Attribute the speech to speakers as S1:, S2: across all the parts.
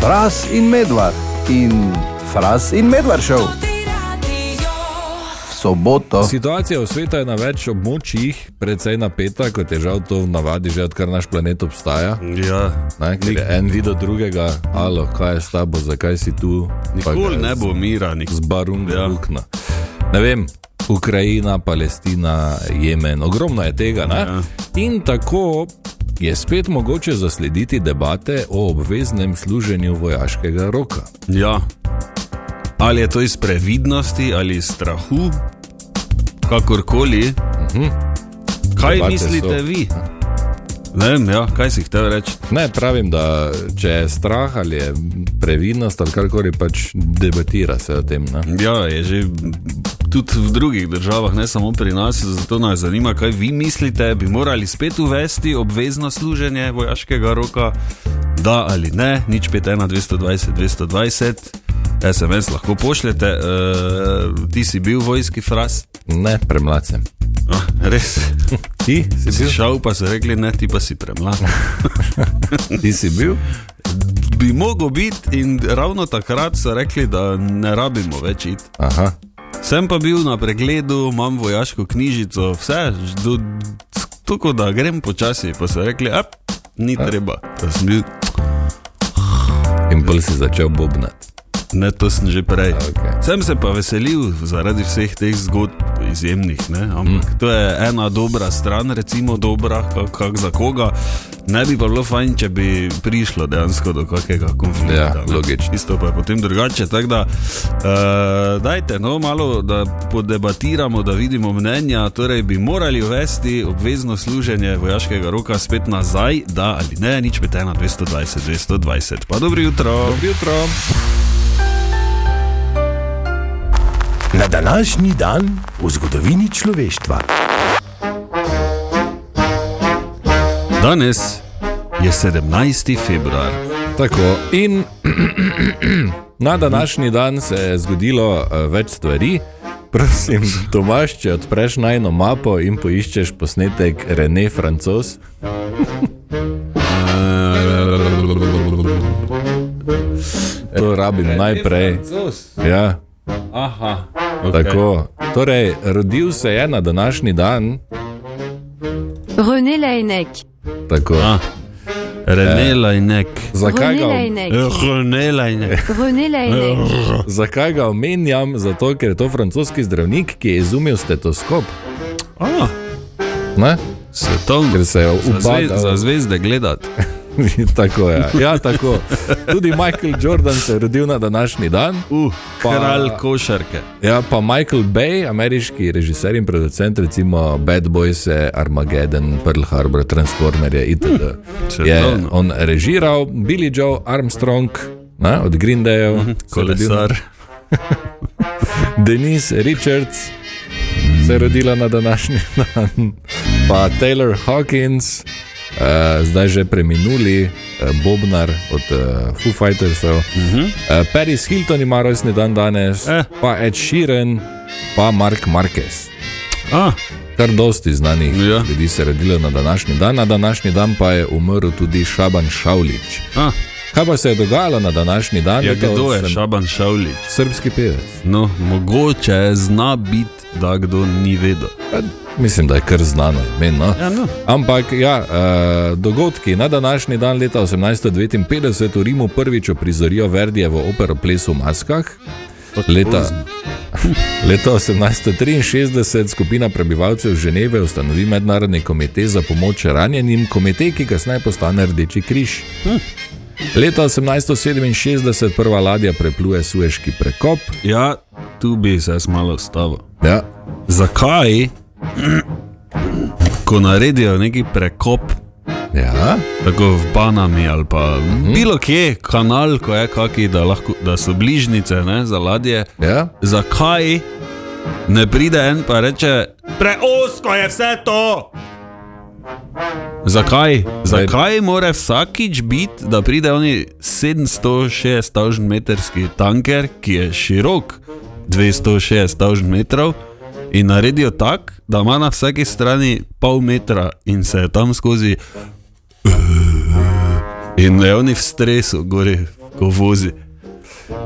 S1: Fras in medvard in fras in medvard šel v soboto.
S2: Oh. Situacija v svetu je na več območjih precej napeta, kot je žal to v navadi, že odkar naš planet obstaja.
S3: Ja,
S2: Ne, ker je en video drugega, alo, kaj je s tabo, zakaj si tu. Pa
S3: nikoli
S2: ga
S3: ne bo mira,
S2: Z
S3: nikoli.
S2: barun ja.
S3: Ja.
S2: lukna. Ne vem. Ukrajina, Palestina, Jemen, ogromno je tega. Ja.
S3: Ja.
S2: In tako je spet mogoče zaslediti debate o obveznem služenju vojaškega roka.
S3: Ja. Ali je to iz previdnosti ali iz strahu, kakorkoli. Uh -huh. Kaj
S2: Debate
S3: Debate
S2: so.
S3: mislite so. vi? Ne vem, ja, kaj si hotel reči.
S2: Ne pravim, da če je strah ali je previdnost ali karkoli, pač debatira se o tem. Ne?
S3: Ja, je že tudi v drugih državah, ne samo pri nas, zato nas zanima, kaj vi mislite, bi morali spet uvesti obvezno služenje vojaškega roka, da ali ne, nič 51, 220, 220. SMS lahko pošljete, uh, ti si bil v vojski fras,
S2: Ne, premlad sem.
S3: ah, res.
S2: Ti si
S3: Si
S2: bil?
S3: šel, pa so rekli, ne, ti pa si premlad.
S2: Ti si bil?
S3: Bi mogel biti in ravno takrat so rekli, da ne rabimo več iti.
S2: Aha.
S3: Sem pa bil na pregledu, imam vojaško knjižico, vse, do, tako da grem počasi. Pa so rekli, ap, ni treba. To sem bil,
S2: In bolj si začel bobnati.
S3: ne, to sem že prej.
S2: Okay.
S3: Sem se pa veselil zaradi vseh teh zgodb, izjemnih. Ne? Ampak mm. to je ena dobra stran, recimo dobra, kak, kak za koga. Ne bi pa bilo fajn, če bi prišlo dejansko do kakega konflikta.
S2: Ja,
S3: ne.
S2: logično.
S3: Isto pa je potem drugače. Tako da, uh, dajte no, malo, da podebatiramo, da vidimo mnenja. Torej, bi morali uvesti obvezno služenje vojaškega roka spet nazaj, da ali ne, nič med 1, 220, 220. Pa dobro jutro.
S2: Jutro.
S1: Na današnji dan v zgodovini človeštva.
S3: Danes je 17. februar.
S2: Tako. In na današnji dan se je zgodilo eh, več stvari. Prosim, Tomaš, če odpreš najno mapo in poiščeš posnetek Rene Francos. To rabim najprej. Ja,
S3: Aha.
S2: tako. Torej, rodil se je na današnji dan,
S4: René Laennec.
S2: tako.
S3: Ah,
S2: Eh.
S3: René Lajnek.
S2: Zakaj
S4: René
S2: ga,
S4: Laennec.
S3: Eh. René
S2: Eh.
S3: Lajnek.
S4: René Laennec.
S3: Eh.
S2: zakaj ga omenjam? Zato, ker je to francoski zdravnik, ki je izumil stetoskop.
S3: Ah,
S2: Ne?
S3: svetovni.
S2: Ker se je
S3: Za, zve,
S2: upadal.
S3: za zvezde gledati.
S2: tako je. Ja, tako. Tudi Michael Jordan se je rodil na današnji dan.
S3: Uh,
S2: Pa-
S3: Kralj košarke.
S2: Ja, pa Michael Bay, ameriški režiser in producent, recimo Bad Boys, eh, Armageddon, Pearl Harbor, Transformerje itd. Je
S3: Čudovno.
S2: on režiral, Billy Joe Armstrong ne, od Green Dayov, se je rodil.
S3: Kolesar.
S2: Denise Richards se je rodila na današnji dan, pa Taylor Hawkins, uh, zdaj že preminuli, uh, Bobnar od uh, Foo Fightersov, uh -huh. uh, Paris Hilton ima rojstni dan danes, eh.
S3: Eh.
S2: pa Ed Sheeran, pa Mark Marquez.
S3: Ah,
S2: Kar dosti znanih ja.
S3: Ja.
S2: ljudi se je rodilo na današnji dan, na današnji dan pa je umrl tudi Šaban Šavlič.
S3: ah.
S2: Kaj pa se je dogajalo na današnji dan?
S3: Ja,
S2: Leta
S3: kdo je
S2: osem-
S3: Šaban Šavlič?
S2: Srbski pevec.
S3: No, mogoče zna biti, da kdo ni vedel.
S2: Pa Mislim, da je kar znano ime. No?
S3: Ja, no.
S2: Ampak, ja, eh, dogodki na današnji dan, leta 1859, v Rimu prvič oprizorijo Verdijevo opero Ples v maskah. Leta, leta 1863 skupina prebivalcev Ženeve ustanovi mednarodni komite za pomoč ranjenim, komite, ki kasneje postane Rdeči križ. Leta 1867 prva ladja prepluje Sueški prekop.
S3: Ja, tu bi se jaz malo ustavil.
S2: Ja,
S3: Zakaj, ko naredijo neki prekop,
S2: ja.
S3: Tako v Panami ali pa mm. bilo kje, kanal, ko je kaki, da, lahko, da so bližnjice ne, za ladje.
S2: ja.
S3: Zakaj ne pride en pa reče, preosko je vse to? Zakaj? Zakaj mora vsakič biti, da pride oni 760 metrski tanker, ki je širok 260 metrov, in naredijo tako, da ima na vsaki strani pol metra in se je eh, tam skozi. In je oni v stresu, gori, ko vozi.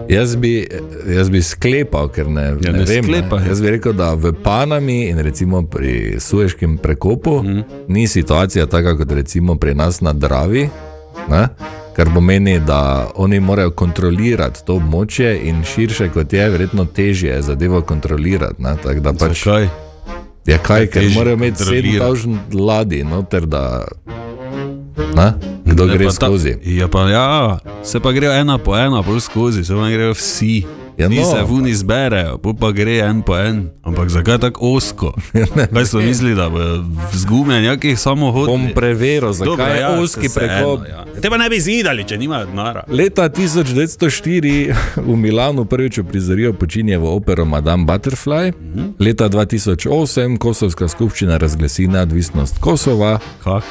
S2: Jaz bi, jaz bi sklepal, ker ne,
S3: Ja,
S2: ja, ne,
S3: ne
S2: ne vem.
S3: sklepaj.
S2: Ne. Jaz bi rekel, da v Panami in recimo pri Sueškem prekopu
S3: Mhm.
S2: mm. ni situacija taka kot recimo pri nas na Dravi, ne? kar pomeni, da oni morajo kontrolirati to območje in širše kot je, verjetno težje je zadevo kontrolirati. Ne? Tako da pač
S3: Zakaj? Ja,
S2: je kaj, ker
S3: Težje
S2: morajo imeti sedem
S3: kontrolirati.
S2: dolžn ladij, noter da. Ne? Kdo
S3: Ne,
S2: ne, gre
S3: pa ta-
S2: skozi?
S3: Ja, pa ja, se pa grejo ena po ena, pol skozi, se pa grejo vsi.
S2: Ja,
S3: Ti
S2: no.
S3: se vuni zberejo, pol pa gre en po en. Ampak zakaj tako osko?
S2: Ja,
S3: Kaj so mislili, da bo zgumen jakih
S2: Bom
S3: samohodov?
S2: preveril, zakaj je oski prekop.
S3: Ja. Te pa ne bi zidali, če nimajo denara.
S2: Leta 1904 v Milanu prvič prizorijo počinjevo opero Madame Butterfly, leta 2008 Kosovska skupščina razglasi neodvisnost Kosova
S3: Kak?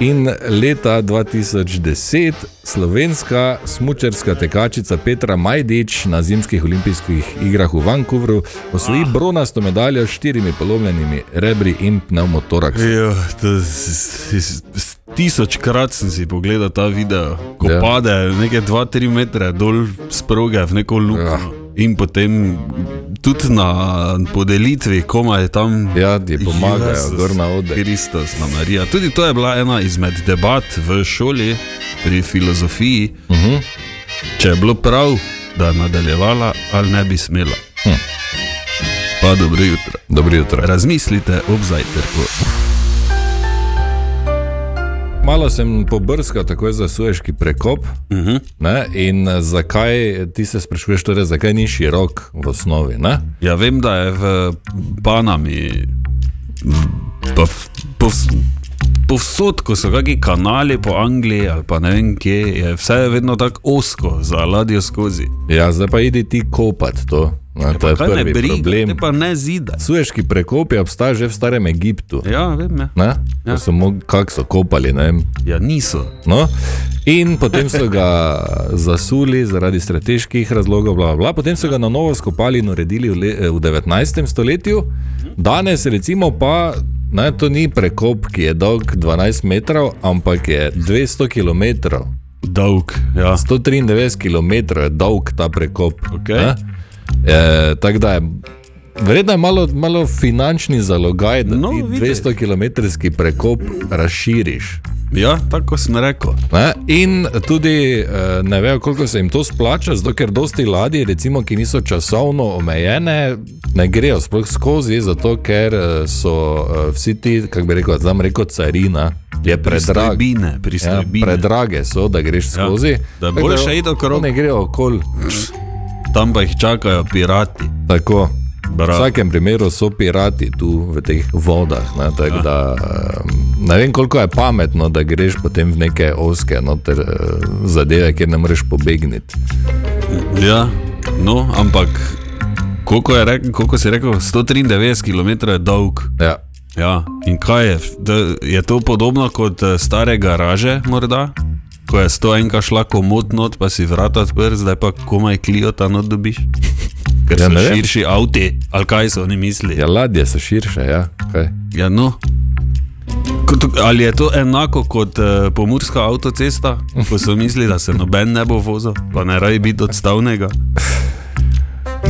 S2: in leta 2010 slovenska smučarska tekačica Petra Majdič na zimskih olimpijskih igrah v Vancouvru osvoji bronasto medaljo s štirimi polomljenimi rebri in pneumotoraksom.
S3: Jo, Ja, to s- s- s- Tisočkrat sem si pogledal ta video, ko
S2: Ja.
S3: ja. pade nekaj 2-3 metre dol s proge v neko luknjo.
S2: Ja.
S3: Ja. In potem tudi na podelitvi, koma je tam.
S2: Ja, ti pomagajo,
S3: Jezus
S2: gor na ode.
S3: Kristus, na Marija. Tudi to je bila ena izmed debat v šoli pri filozofiji,
S2: Uh -huh.
S3: če je bilo prav, da je nadaljevala ali ne bi smela.
S2: Hm.
S3: Pa dobro jutro.
S2: Dobro jutro.
S3: Razmislite ob zajtrku.
S2: Malo sem pobrskal, tako je za suješki prekop.
S3: Uh -huh.
S2: Ne? In eh, zakaj ti se sprašuješ, torej, zakaj ni širok v osnovi? Ne?
S3: Ja, vem, da je v Panami, v- pa v- povs- povsod, ko so kakšni kanali po Angliji ali pa ne vem kje, je vse vedno tako osko, za ladjo skozi.
S2: Ja, zdaj pa idi ti kopat to. Ne? To je
S3: Ja, Kaj ne
S2: prvi problem.
S3: te pa ne zida.
S2: Suješki prekop je obstajal že v starem Egiptu.
S3: Ja, vem, ja.
S2: Ja. So mog, kak so kopali, ne vem.
S3: ja niso.
S2: No? In potem so ga zasuli zaradi strateških razlogov, bla, bla, bla. potem so ga na novo skopali in uredili v, le, eh, v 19. stoletju. Danes, recimo, pa ne, to ni prekop, ki je dolg 12 metrov, ampak je 200 km.
S3: Dolg, ja.
S2: 193 km je dolg ta prekop.
S3: Ok.
S2: ne. E, Tako da je. Verjetno je malo, malo finančni zalogaj, da no,
S3: No,
S2: ti
S3: vidiš.
S2: 200-kilometrski prekop razširiš.
S3: ja, tako sem rekel.
S2: Ne? In tudi eh, ne vejo, koliko se jim to splača, zato ker dosti ladij, recimo, ki niso časovno omejene, ne grejo sploh skozi, zato ker eh, so eh, vsi ti, kako bi rekel, znam rekel, carina je predrag.
S3: Pristojbine,
S2: Ja,
S3: pristojbine.
S2: predrage so, da greš skozi.
S3: Da
S2: Tako
S3: boljše iti okrog.
S2: Ne grejo okol.
S3: Tam pa jih čakajo pirati.
S2: Tako. V
S3: Bravo.
S2: vsakem primeru so pirati tu v teh vodah. Ne, tak,
S3: Ja.
S2: da, em, ne vem, koliko je pametno, da greš potem v neke oske noter, eh, zadeve, kjer ne moreš pobegniti.
S3: Ja, no, ampak koliko, je rekel, koliko si rekel, 193 km je dolg.
S2: Ja.
S3: Ja. In kaj je? Da, je to podobno kot eh, stare garaže, morda? Ko je sto enka šla komod not, pa si vrata odprl, zdaj pa komaj klijo ta not dobiš. Ker
S2: Ja,
S3: so
S2: ne vem.
S3: širši avti, ali kaj so oni mislili.
S2: ja, ladje so širše. Ja. Kaj?
S3: Ja, no. Kot, ali je to enako kot uh, pomorska avtocesta, ko so mislili, da se noben ne bo vozil, pa ne raje biti odstavnega?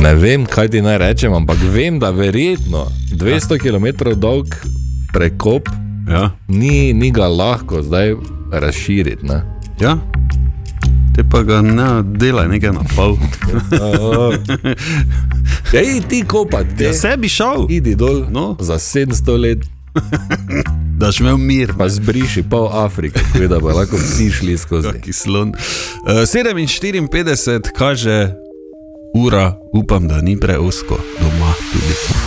S2: Ne vem, kaj ti naj rečem, ampak vem, da verjetno 200 km dolg prekop
S3: Ja.
S2: ni, ni ga lahko zdaj razširiti. Ne.
S3: ja. Te pa ga ne delaj nekaj na pol.
S2: Ja, Ej, ti kopat, te.
S3: Ja, sebi šel,
S2: Idi dol no.
S3: No.
S2: za 700 let,
S3: daš imel mir.
S2: pa zbriši pol Afrike, tako da bodo lahko vsi šli skozi.
S3: Kaki slon. Uh, 7:54 kaže ura, upam, da ni preosko doma tudi.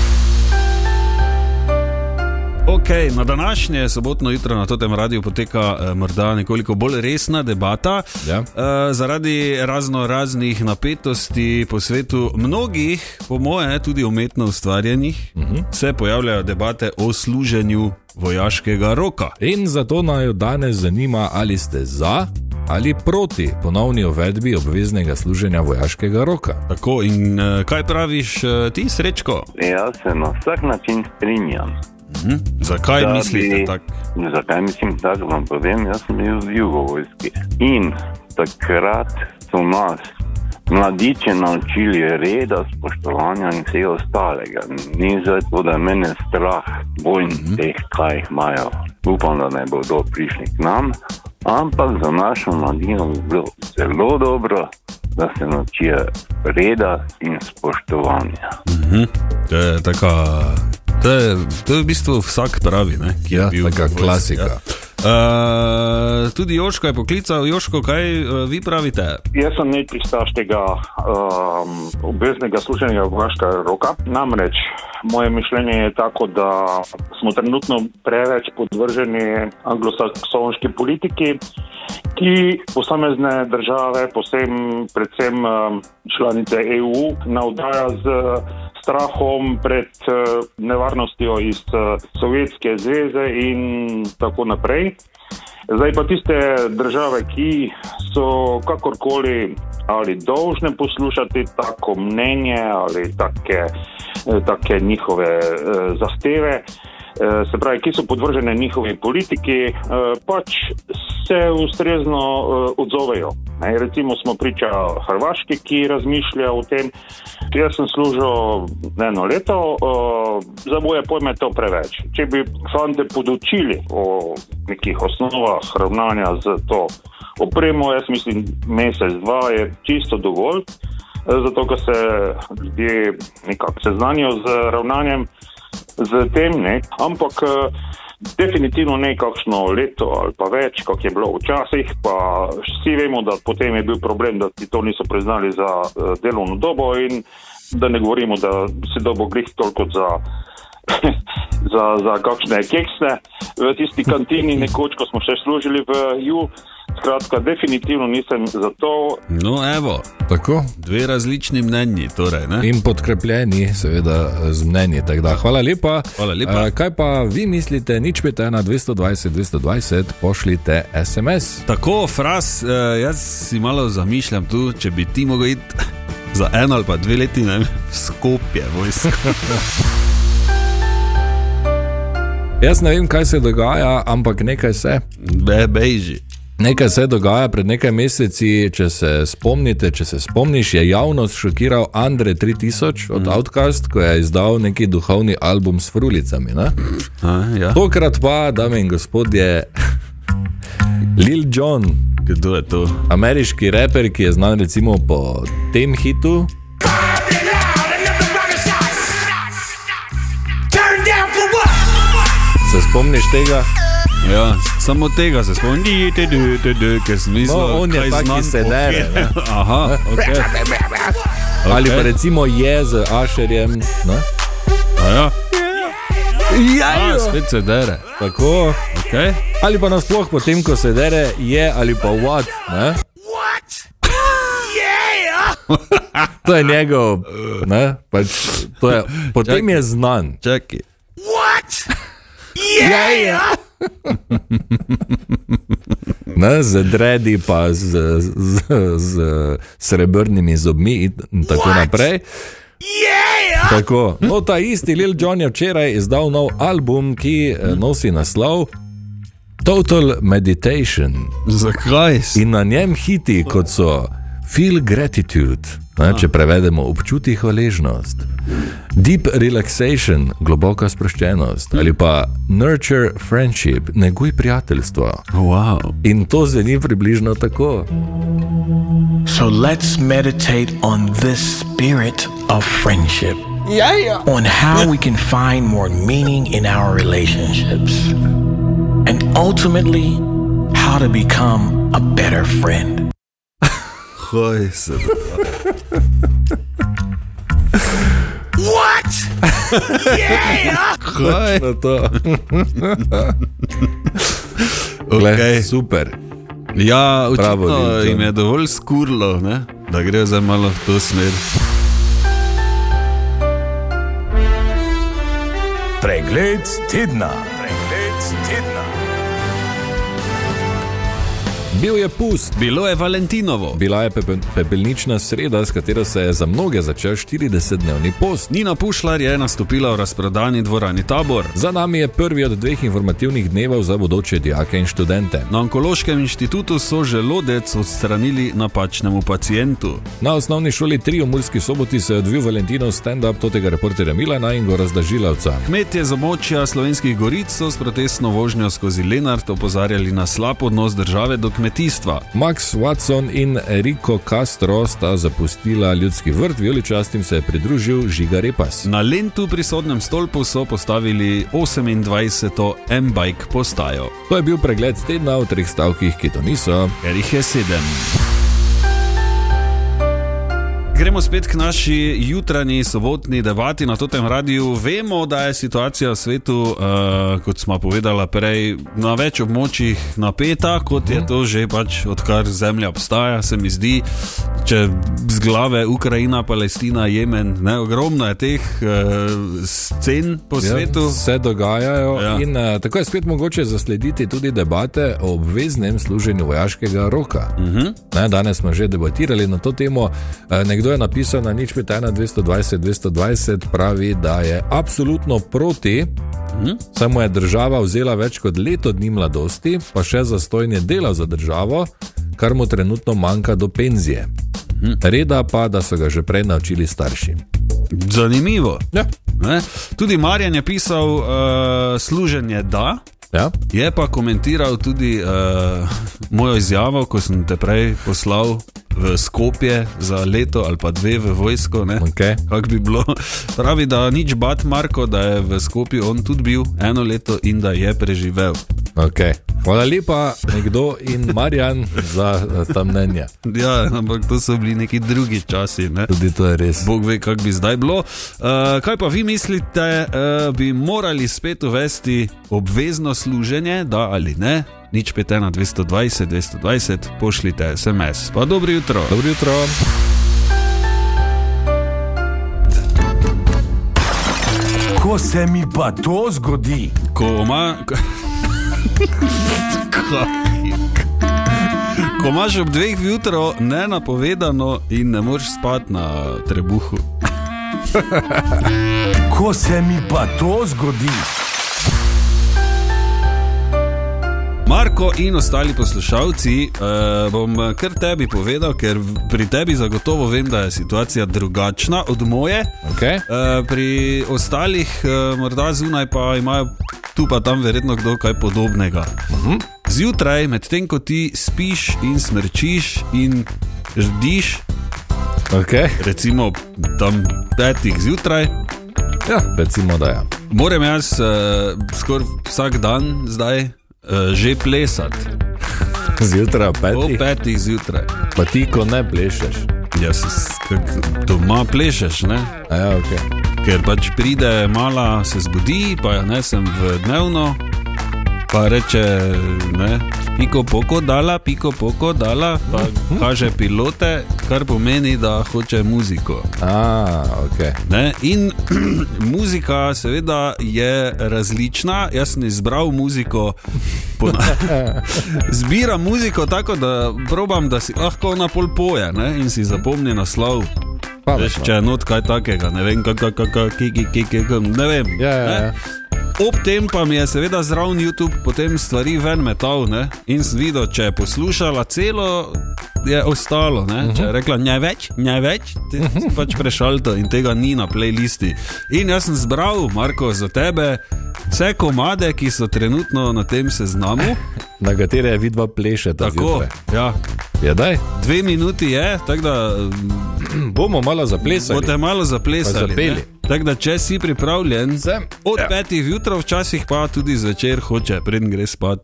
S3: Ok, na današnje sobotno jutro na tem radiju poteka eh, morda nekoliko bolj resna debata.
S2: Ja.
S3: Eh, zaradi razno raznih napetosti po svetu, mnogih, po moje, tudi umetno ustvarjenih, uh -huh. se pojavljajo debate o služenju vojaškega roka.
S2: In zato naj jo danes zanima, ali ste za ali proti ponovni uvedbi obveznega služenja vojaškega roka.
S3: Tako in eh, kaj praviš eh, ti, srečko?
S5: Jaz Ja se na vsak način strinjam.
S3: Hm? Zakaj
S5: Da
S3: da
S5: bi-
S3: mislite bi... tako?
S5: Zakaj mislim tako? Vam povem, jaz sem bil v jugovojski in takrat so nas mladiče naučili reda, spoštovanja in vsega ostalega. Ni zdaj to, da je mene strah vojn teh, kaj jih imajo. Upam, da ne bodo prišli k nam, ampak za našo mladino bi bilo zelo dobro, da se naučijo reda in spoštovanja.
S3: To je taka. To je, to je v bistvu vsak pravi, ne? ki je
S2: Ja,
S3: bil.
S2: taka
S3: v vojski,
S2: klasika.
S3: Ja. Uh, tudi Joško je poklical, Joško, kaj uh, vi pravite?
S6: Jaz sem nek pristaš tega um, obveznega služenja vojaškega roka. Namreč moje mišljenje je tako, da smo trenutno preveč podvrženi anglosaksonski politiki, ki posamezne države, posebej, predvsem um, članice EU, navdaja z strahom pred eh, nevarnostjo iz eh, Sovjetske zveze in tako naprej. Zdaj pa tiste države, ki so kakorkoli ali dolžne poslušati tako mnenje ali take, take njihove eh, zahteve, eh, se pravi, ki so podvržene njihovi politiki, eh, pač se ustrezno eh, odzovejo. Ne, recimo smo priča Hrvaški, ki razmišlja o tem, jaz sem služil eno leto, eh, za moje pojme je to preveč. Če bi fante podočili o nekih osnovah ravnanja z to opremo, jaz mislim, mesec, dva je čisto dovolj. eh, Zato, ker se ljudje nekako seznanijo z ravnanjem, z tem, ne? ampak eh, definitivno ne kakšno leto ali pa več, kot je bilo včasih. Pa vsi vemo, da potem je bil problem, da ti to niso priznali za eh, delovno dobo in da ne govorimo, da se dobo grih toliko za. za, za kakšne kekse v tisti kantini, nekoč, ko smo še služili v Ju. Skratka, definitivno nisem za to,
S3: No, evo,
S2: Tako.
S3: dve različni mnenji. Torej, ne?
S2: In podkrepljeni, seveda, z mnenji. tako da. Hvala lepa.
S3: Hvala lepa.
S2: Eh, Kaj pa vi mislite, nič pete na 220, 220, pošljite SMS.
S3: Tako, fras, eh, jaz si malo zamišljam tu, če bi ti mogel iti za eno ali pa dve leti, ne vem, v skopje, vojsko.
S2: Jaz ne vem, kaj se dogaja, ampak nekaj se.
S3: Be, beži.
S2: Nekaj se dogaja pred nekaj meseci, če se spomnite, če se spomniš, je javnost šokiral Andrej 3000 od Outcast, ko je izdal neki duhovni album s frulicami. Ne?
S3: A, ja.
S2: Tokrat pa, dame in gospodje, Lil Jon,
S3: Kdo je to?
S2: ameriški raper, ki je znan recimo po tem hitu,
S7: Turn down for what?
S2: se spomniš tega?
S3: Ja, samo tega se spomnim, Ni, te, te, te, te, ker sem mislil,
S2: No, on
S3: kaj
S2: je tak,
S3: znam
S2: ki se
S3: o-
S2: dere. ne.
S3: Aha, ok.
S2: Ali
S3: Ok.
S2: pa recimo je z Asherjem. Ne?
S3: A ja. Ja, spet se dere.
S2: Tako.
S3: Okay.
S2: Ali pa nasploh potem, ko se dere, je ali pa what. Ne? To je njegov, ne, pač, to je, potem je znan. Ja,
S3: Čakaj.
S2: Ne, z dredi, pa z, z, z, z srebrnimi zobmi in tako What? naprej. Yeah! Tako. No, ta isti Lil Jon je včeraj izdal nov album, ki eh, nosi naslov Total Meditation.
S3: Zakaj?
S2: In na njem hiti, kot so Feel Gratitude, ne, če prevedemo občuti hvaležnost, Deep Relaxation, globoka sproščenost ali pa Nurture Friendship, neguj prijateljstvo.
S3: Wow.
S2: In to zveni približno tako.
S8: So let's meditate on this spirit of friendship. Yeah, On how we can find more meaning in our relationships. And ultimately, how to become a better friend.
S3: Kaj se dogaja? What? Yeah! Kaj?
S2: Na to. Glej,
S3: Okay.
S2: Super.
S3: Ja,
S2: Bravo,
S3: očitno
S2: Lil Jon.
S3: jim je dovolj skurlo, ne? da grejo zdaj malo v to smer.
S1: Pregled tedna. Pregled tedna.
S2: Bil je pust.
S3: Bilo je Valentinovo.
S2: Bila je pepe, pepelnična sreda, s katero se je za mnoge začel 40-dnevni post.
S3: Nina Pušlar je nastopila v razprodani dvorani Tabor.
S2: Za nami je prvi od dveh informativnih dnevov za bodoče dijake in študente.
S3: Na onkološkem inštitutu so želodec odstranili napačnemu pacijentu.
S2: Na osnovni šoli 3 v Murski soboti se je odvil Valentinov stand-up totega reporterja Milana in Gora Zdažilevca.
S3: Kmetje z območja slovenskih goric so s protestno vožnjo skozi Lenart opozarjali na slab odnos države do kmetijstva.
S2: Max Watson in Rico Castro sta zapustila ljudski vrt, vijoličastim se je pridružil Žiga Repas.
S3: Na Lentu pri sodnem stolpu so postavili 28. M-bike postajo,
S2: To je bil pregled tedna v treh stavkih, ki to niso.
S3: ker jih je sedem. Gremo spet k naši jutranji sobotni debati na tem radiju. Vemo, da je situacija v svetu, uh, kot smo povedali prej, na več območjih napeta, kot je to že pač odkar zemlja obstaja. Se mi zdi, če z glave Ukrajina, Palestina, Jemen, ne, ogromno je teh uh, scen po ja, svetu.
S2: se dogajajo,
S3: Ja.
S2: ja. in uh, tako je spet mogoče zaslediti tudi debate o obveznem služenju vojaškega roka. Uh
S3: Mhm.
S2: -huh. ne, danes smo že debatirali na to temo. Eh, Nekdo je napisal na nič pet ena 220, 220, pravi, da je absolutno proti.
S3: Mhm.
S2: Hmm? Samo je država vzela več kot leto dni mladosti, pa še zastojne dela za državo, kar mu trenutno manjka do penzije.
S3: Mhm.
S2: Hmm. Reda pa, da so ga že prej naučili starši.
S3: Zanimivo.
S2: Ja.
S3: Ne? Tudi Marjan je pisal, uh, služenje da.
S2: Ja?
S3: Je pa komentiral tudi uh, mojo izjavo, ko sem te prej poslal v Skopje za leto ali pa dve v vojsko. ne.
S2: Okay.
S3: Kako bi bilo? Pravi, da nič bat Marko, da je v Skopju on tudi bil eno leto in da je preživel.
S2: Okay. Hvala lepa, nekdo in Marjan za eh, ta mnenja.
S3: Ja, ampak to so bili neki drugi časi. Ne?
S2: Tudi to je res.
S3: Bog ve, kako bi zdaj bilo. Uh, kaj pa vi mislite, uh, bi morali spet uvesti obvezno služenje, da ali ne? Nič 5 na 220, 220, pošljite SMS. Pa dobro jutro.
S2: Dobro jutro.
S7: Ko se mi pa to zgodi,
S3: Ko ima. ko- Ko imaš ob dveh jutro nenapovedano in ne moreš spati na trebuhu.
S7: ko se mi pa to zgodi,
S3: Marko in ostali poslušalci, eh, bom kar tebi povedal, ker v- pri tebi zagotovo vem, da je situacija drugačna od moje.
S2: Okay.
S3: Eh, pri ostalih, eh, morda zunaj, pa imajo tu pa tam verjetno kdo kaj podobnega. Zjutraj, medtem ko ti spiš in smrčiš in ždiš,
S2: Okay.
S3: recimo tam petih zjutraj,
S2: Ja, recimo, da je.
S3: moram jaz uh, skoraj vsak dan zdaj uh, že plesati.
S2: Zjutraj ob
S3: Po
S2: petih,
S3: petih zjutraj.
S2: pa ti, ko ne plešeš.
S3: Jaz se s- kak- doma plešeš, ne?
S2: A Ja, okay.
S3: Ker pač pride mala, se zbudi, pa jo nesem v dnevno, pa reče, ne, piko poko dala, piko poko dala, pa kaže pilote, kar pomeni, da hoče muziko.
S2: A, okay.
S3: Ne? In muzika, seveda, je različna. Jaz sem izbral muziko, po na- zbiram muziko tako, da probam, da si lahko ona pol poje ne? in si zapomni naslov.
S2: Pa, no.
S3: Veš, če je not kaj takega, ne vem, kako, kako, kiki, kiki, ne vem.
S2: Ja, ja,
S3: ne?
S2: ja.
S3: Ob tem pa mi je seveda zraven YouTube potem stvari ven metal ne? in sem videl, če je poslušala celo, je ostalo. Ne? Uh
S2: Mhm.
S3: -huh. Če je rekla, ne več, ne več, ti si pač prešalta in tega ni na playlisti. In jaz sem zbral, Marko, za tebe vse komade, ki so trenutno na tem seznamu.
S2: Na katere je vidva plešeta.
S3: Tako,
S2: zjutraj.
S3: ja,
S2: Ja, daj.
S3: dve minuti je, tako da mm,
S2: Hm, Bomo malo zaplesali.
S3: Boste malo
S2: Pa
S3: zaplesali.
S2: zapeli.
S3: ne? Tako da, če si pripravljen,
S2: Sem.
S3: od
S2: Ja.
S3: ja. petih jutra, včasih pa tudi zvečer hoče, preden greš spat,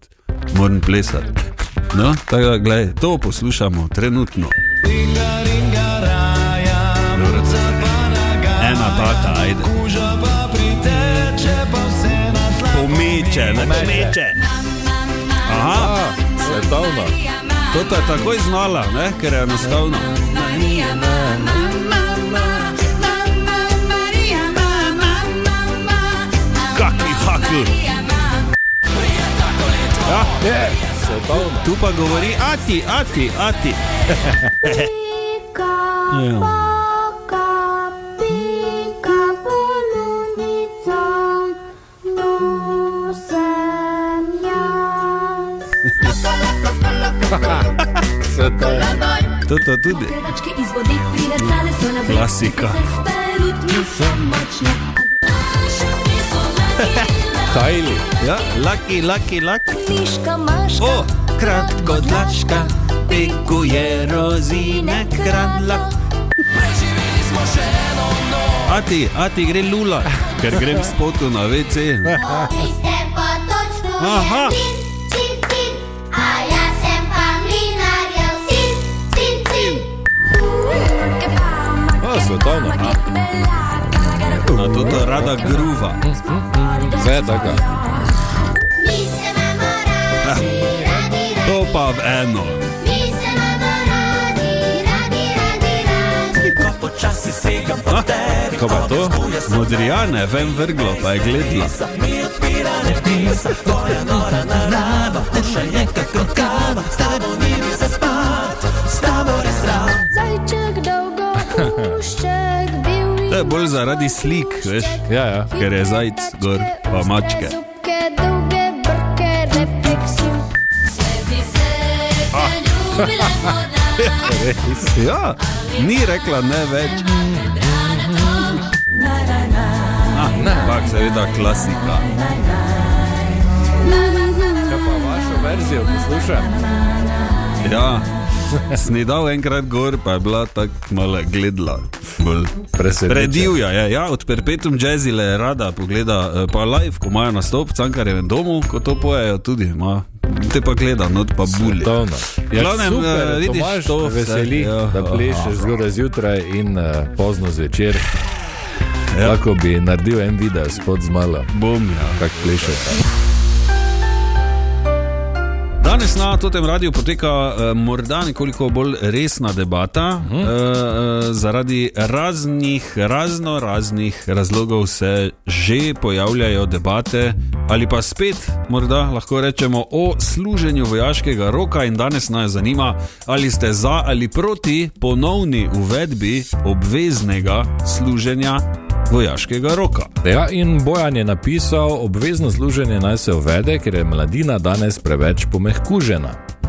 S3: moram plesati. No, tako da, gledaj, to poslušamo trenutno. Dobro. Ena taka, ajde. Pomeče, ne pomeče. Aha,
S2: A, svetovno.
S3: to je takoj znala, ne? ker je enostavno. Kakvi hakl. Ja,
S2: Je, svetovno.
S3: Tu pa govori, ati, ati, ati. Ja. To, to tudi. Klasika.
S2: Kajli.
S3: Ja, laki, laki, laki.
S9: Miška, maška,
S3: O, kratko dlačka, pikuje rozine, kradla. Ati, ati gre lula, ker grem spotu na WC.
S9: vi ste po točku
S3: Aha.
S9: je cin, cin, cin, a ja sem pa mlinarjev sin, cin, cin.
S2: A, svetovno.
S3: Na to to rada gruva.
S2: Vse je tako.
S9: Mi se imamo radi, radi, radi,
S3: To pa v eno.
S9: mi se imamo radi, radi, radi, radi.
S2: Kaj pa je to?
S3: Modrijane, ven vrglo, pa je gledla.
S9: Zajček dolgo ušček bil
S3: To je bolj zaradi slik, veš,
S2: Ja, ja.
S3: ker je zajc gor, pa mačke.
S9: Zupke, dolge brke, repek si. Sveti se, da ljubila voda.
S3: Ja, ni rekla ne več. Ah, Ampak seveda klasika.
S2: Ja, Vašo verzijo poslušam.
S3: Ja, snedal enkrat gor, pa je bila tako malo gledla. Bolj.
S2: Presenečen.
S3: Predivja je, ja, od perpetum jazzile rada pogleda, eh, pa live, ko imajo nastop v Cankarjevem domu, ko to pojejo tudi, ima. te pa gleda, not pa bulje.
S2: Svetovno. Ja,
S3: glavnem,
S2: super,
S3: eh, vidiš,
S2: Tomaž,
S3: to vse,
S2: veseli,
S3: ja.
S2: da plešeš zgodaj zjutraj in eh, pozno zvečer.
S3: Ja.
S2: Lahko bi naredil en video spod z malo,
S3: Bom, ja.
S2: kako plešeš.
S3: Danes na tem radiju poteka uh, morda nekoliko bolj resna debata. Uh -huh. uh, zaradi raznih, razno raznih razlogov se že pojavljajo debate, ali pa spet morda lahko rečemo o služenju vojaškega roka. In danes nas zanima, ali ste za ali proti ponovni uvedbi obveznega služenja vojaškega roka.
S2: Ja, in Bojan je napisal, obvezno služenje naj se uvede, ker je mladina danes preveč pomehkužena.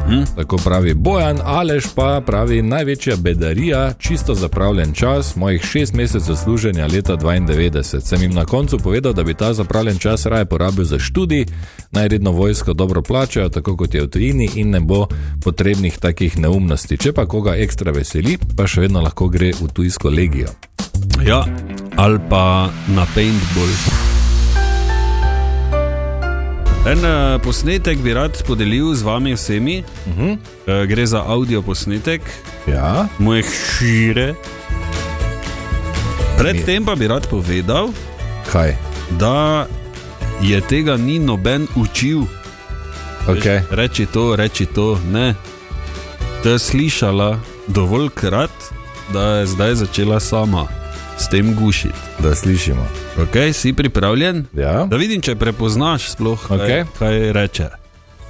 S2: Hm? Tako pravi Bojan, Alež pa pravi največja bedarija, čisto zapravljen čas mojih šest mesecev služenja leta 92. Sem jim na koncu povedal, da bi ta zapravljen čas raje porabil za študij, naj redno vojsko dobro plačajo, tako kot je v tujini, in ne bo potrebnih takih neumnosti. Če pa koga ekstra veseli, pa še vedno lahko gre v tujsko legijo.
S3: Ja, ali pa na paintball. En eh, posnetek bi rad podelil z vami vsemi. Uh -huh. Gre za audio posnetek
S2: Ja,
S3: moje šire. Predtem pa bi rad povedal,
S2: kaj?
S3: da je tega ni noben učil.
S2: Okay.
S3: Reči to, reči to, ne. To je slišala dovoljkrat, da je zdaj začela sama s tem gušiti.
S2: Da slišimo.
S3: Okay, si pripravljen?
S2: Ja.
S3: Da vidim, če prepoznaš sploh, kaj,
S2: Okej.
S3: okay. kaj reče.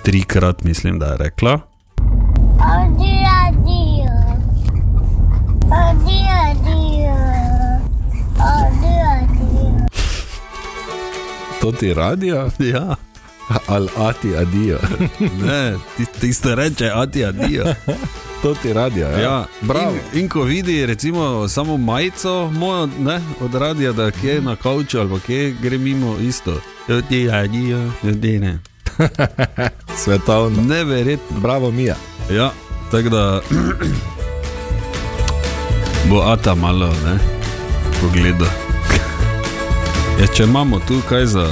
S3: Trikrat mislim, da je rekla.
S9: Odi, adijo. Odi, adijo. Odi, adijo.
S2: To ti radio,
S3: Ja,
S2: ali ati adijo.
S3: ne, ti- tiste reče, ati, adijo.
S2: To ti radio, ja.
S3: Ja,
S2: bravo.
S3: In, in ko vidi recimo samo majico mojo, ne, od radia, da kje je na kavču ali pa kje gre mimo isto. Ja, Odi, adijo, odi, ja, ne.
S2: Svetovno.
S3: Neverjetno.
S2: Bravo, Mija.
S3: Ja, tako da bo Ata malo, ne, pogleda. Ja, če imamo tu kaj za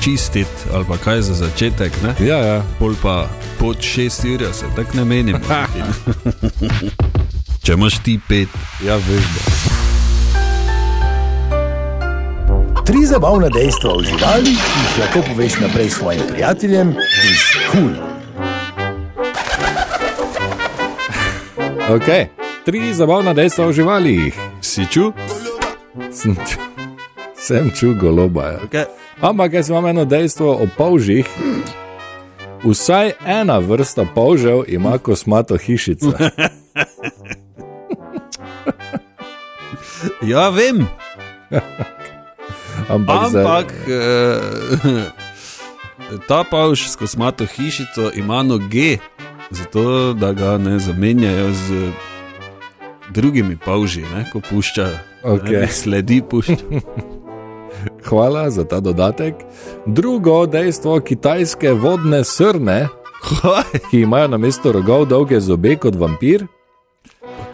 S3: čistiti ali pa kaj za začetek, ne,
S2: Ja, ja.
S3: pol pa pod 6 ur, ja se tako ne menimo. če imaš ti pet,
S2: ja veš, da.
S7: Tri zabavna dejstva o živalih, ki jih lahko poveš naprej svojim prijateljem iz kul. Cool.
S2: Okay. Tri zabavna dejstva o živalih.
S3: si ču?
S2: Sem, ču, sem ču goloba. Ja.
S3: Okay.
S2: Ampak jaz imam eno dejstvo o polžih. Vsaj ena vrsta polžev ima kosmato hišico.
S3: Ja, vem,
S2: Ampak, zdaj-
S3: ampak eh, ta pavš s kosmato hišico ima noge, zato da ga ne zamenjajo z drugimi pavži, ne, ko puščajo.
S2: Okej.
S3: Ne, sledi puščajo.
S2: hvala za ta dodatek. Drugo dejstvo, kitajske vodne srne,
S3: Kaj?
S2: ki imajo na mesto rogov dolge zobe kot vampir,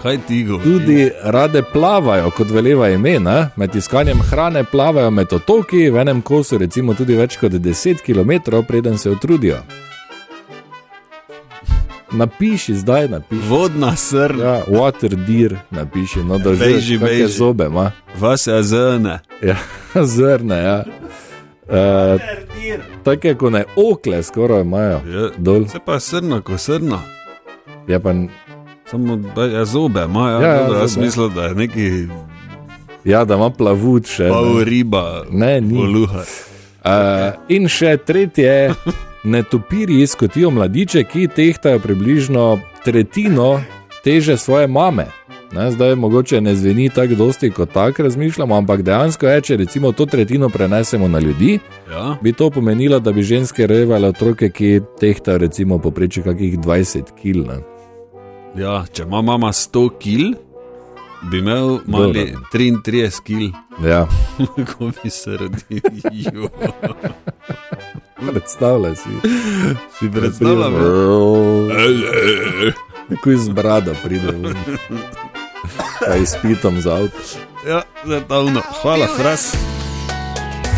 S3: Kaj ti govoriš?
S2: tudi rade plavajo, kot veleva ime. Ne? Med iskanjem hrane plavajo med otoki, v enem kosu recimo tudi več kot 10 km, preden se utrudijo. Napiši zdaj, napiši.
S3: Vodna srna.
S2: Ja, water deer, napiši, no da
S3: Bejži,
S2: že kakšne
S3: bejži.
S2: zobe ima.
S3: Vas je zrne.
S2: Ja, zrne, ja. Uh, Tako je, kot ne okle skoraj imajo.
S3: Ja.
S2: Dol.
S3: Se pa srna, ko srna.
S2: Je pa,
S3: Samo be- ja, zobe ima, ja,
S2: Ja, ja,
S3: ja, ja, jaz
S2: zobe.
S3: mislim, da je neki
S2: ja, da ima plavut še.
S3: pol
S2: Ne,
S3: riba,
S2: ne ni.
S3: poluha.
S2: Uh, in še tretje, netopirji skotijo mladiče, ki tehtajo približno tretjino teže svoje mame. Ne, zdaj mogoče ne zveni tako dosti, kot tako razmišljamo, ampak dejansko je, če recimo to tretjino prenesemo na ljudi,
S3: Ja.
S2: bi to pomenilo, da bi ženske rojevale otroke, ki tehtajo recimo poprečje kakih 20 kg. ne.
S3: ja, če ima mama 100 kil, bi imel mali
S2: Dobro.
S3: 33 kil,
S2: Ja,
S3: ko bi se rodil. Jo,
S2: predstavljaj si.
S3: si predstavljam?
S2: Tako iz brada pride. ven. Pa izpitam za avto.
S3: Ja, nedavno. Hvala, fras.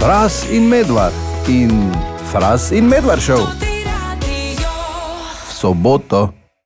S1: Fras in Medvar in Fras in Medvar šel. V soboto